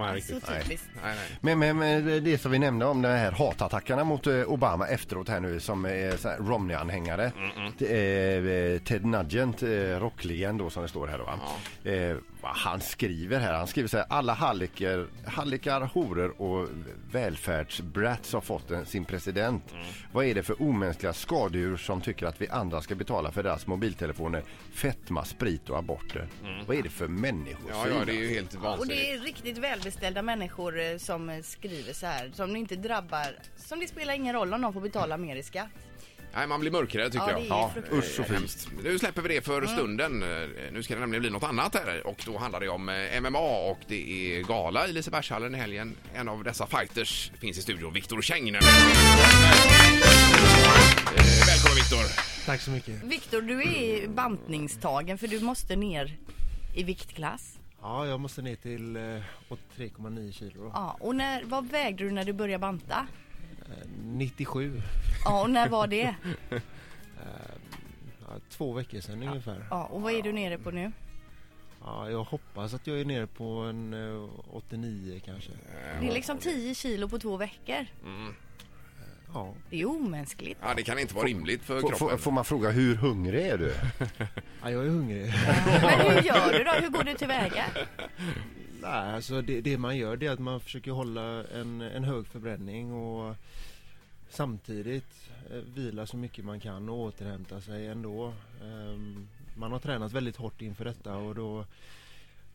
Nej, Alltså, Så riktigt. Alltså, typiskt. Nej, nej. Men, men, men det som vi nämnde om de här hatattackerna mot eh, Obama efteråt här nu som är så här Romney-anhängare. Mm, Eh, eh, Ted Nugent, eh, rocklegend då som det står här då va. Eh, vad han skriver här, han skriver så här alla halliker, hallikar, horor och välfärdsbrats har fått en, sin president. Mm. Vad är det för omänskliga skadedjur som tycker att vi andra ska betala för deras mobiltelefoner, fetma, sprit och aborter? Vad är det för människor? Mm. Ja, ja, det är ju helt Och det vansinnigt. är riktigt välbeställda människor eh, som eh, skriver så här, som det inte drabbar, som det spelar ingen roll om de får betala mer i skatt. Nej, man blir mörkrädd tycker Ja, jag. det är Ja, fruktansvärt. Mm. usch så fint. Hemskt. Nu släpper vi det för stunden. Eh, Nu ska det nämligen bli något annat här och då handlar det om eh, MMA och det är gala i Lisebergshallen i helgen. En av dessa fighters finns i studion, Viktor Kängner. Eh, Välkommen Viktor! Tack så mycket. Viktor, du är bantningstagen för du måste ner i viktklass. Ja, jag måste ner till eh, 83,9 kilo. då. Ja, och när, vad vägde du när du började banta? 97. Ja, och när var det? Ja, två veckor sedan ungefär. Ja, och vad är du nere på nu? Ja, jag hoppas att jag är nere på en eh, 89 kanske. Det är liksom 10 kilo på två veckor. Ja, Det är omänskligt. Ja, det kan inte vara rimligt för Får- Får, kroppen. får man fråga hur hungrig är du? ja jag är hungrig. Men hur gör du då? Hur går du tillväga? Nej, alltså det, det man gör det är att man försöker hålla en, en hög förbränning och samtidigt eh, vila så mycket man kan och återhämta sig ändå. Ehm, man har tränat väldigt hårt inför detta och då,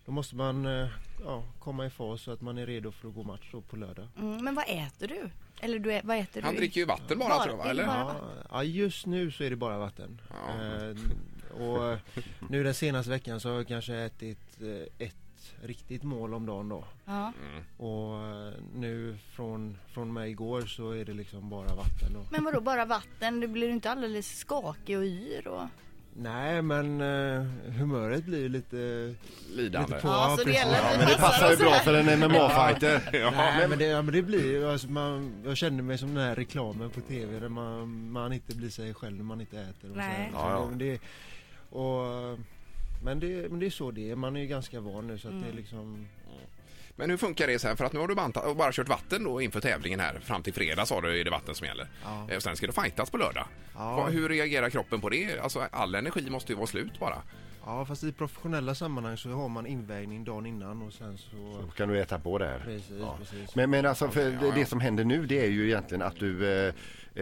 då måste man eh, ja, komma i fas så att man är redo för att gå match då på lördag. Mm, men vad äter du? Eller du, ä- vad äter Han du? dricker ju vatten bara, Bara- tror jag, det är eller? bara- Ja, ja, just nu så är det bara vatten. Ja. Ehm, och nu den senaste veckan så har jag kanske ätit eh, ett riktigt mål om dagen då. Ja. Och eh, nu från, från mig igår så är det liksom bara vatten och... Men vadå, bara vatten? Du blir inte alldeles skakig och yr? Och... Nej men eh, humöret blir ju lite... Lidande. Lite på- Ja, Ja, så det precis. gäller att Ja, vi Men det passar ju oss bra här. för en MMA-fighter. Nej men det, ja, men det blir ju, alltså, man, jag känner mig som den här reklamen på TV där man, man inte blir sig själv när man inte äter och Nej. så Ja, här. ja. Så det- men det, och, men, det, men det är så det är, man är ju ganska van nu så att det Mm. är liksom... Men hur funkar det sen? För att nu har du bantat och bara kört vatten då inför tävlingen här. Fram till fredag sa du är det vatten som gäller. Ja. Eh, Och sen ska du fightas på lördag. Ja. Va- Hur reagerar kroppen på det? Alltså all energi måste ju vara slut bara. Ja fast i professionella sammanhang så har man invägning dagen innan och sen så... Då kan du äta på där. Precis, precis. Men, men alltså, för ja. det, det som händer nu det är ju egentligen att du, eh,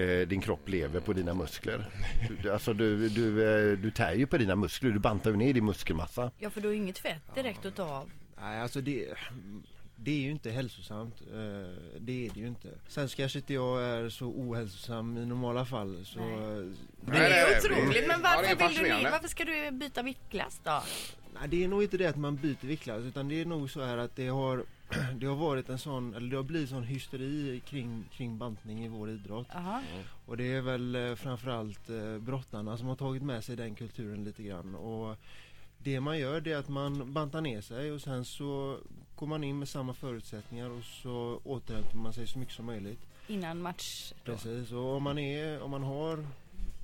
eh, din kropp lever på dina muskler. Du, alltså du, du, eh, du tär ju på dina muskler, du bantar ju ner din muskelmassa. Ja, för du har ju inget fett direkt att ta av. Nej, alltså det, det är ju inte hälsosamt. Eh, Det är det ju inte. Sen kanske inte jag är så ohälsosam i normala fall. Så, Nej. Nej, Det är nej, nej. otroligt. Men varför, Ja, det är vill du, fascinerande. varför ska du byta viktklass då? nej, det är nog inte det att man byter viktklass utan det är nog så här att det har, det har varit en sån, eller det har blivit sån hysteri kring, kring bantning i vår idrott. Jaha. Och det är väl eh, framförallt eh, brottarna som har tagit med sig den kulturen lite grann. Och det man gör det är att man bantar ner sig och sen så går man in med samma förutsättningar och så återhämtar man sig så mycket som möjligt. Innan match då? Precis, och om man, är, om man har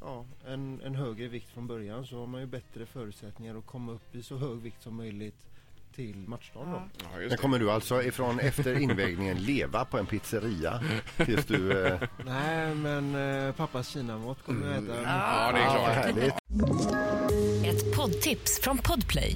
ja, en, en högre vikt från början så har man ju bättre förutsättningar att komma upp i så hög vikt som möjligt till matchdagen då. Ja, Men kommer du alltså ifrån efter invägningen leva på en pizzeria tills du... Eh, Nej men eh, pappas kinamat kommer jag äta. Mm. Ja, det är ja, vad klart. härligt. Ett poddtips från Podplay.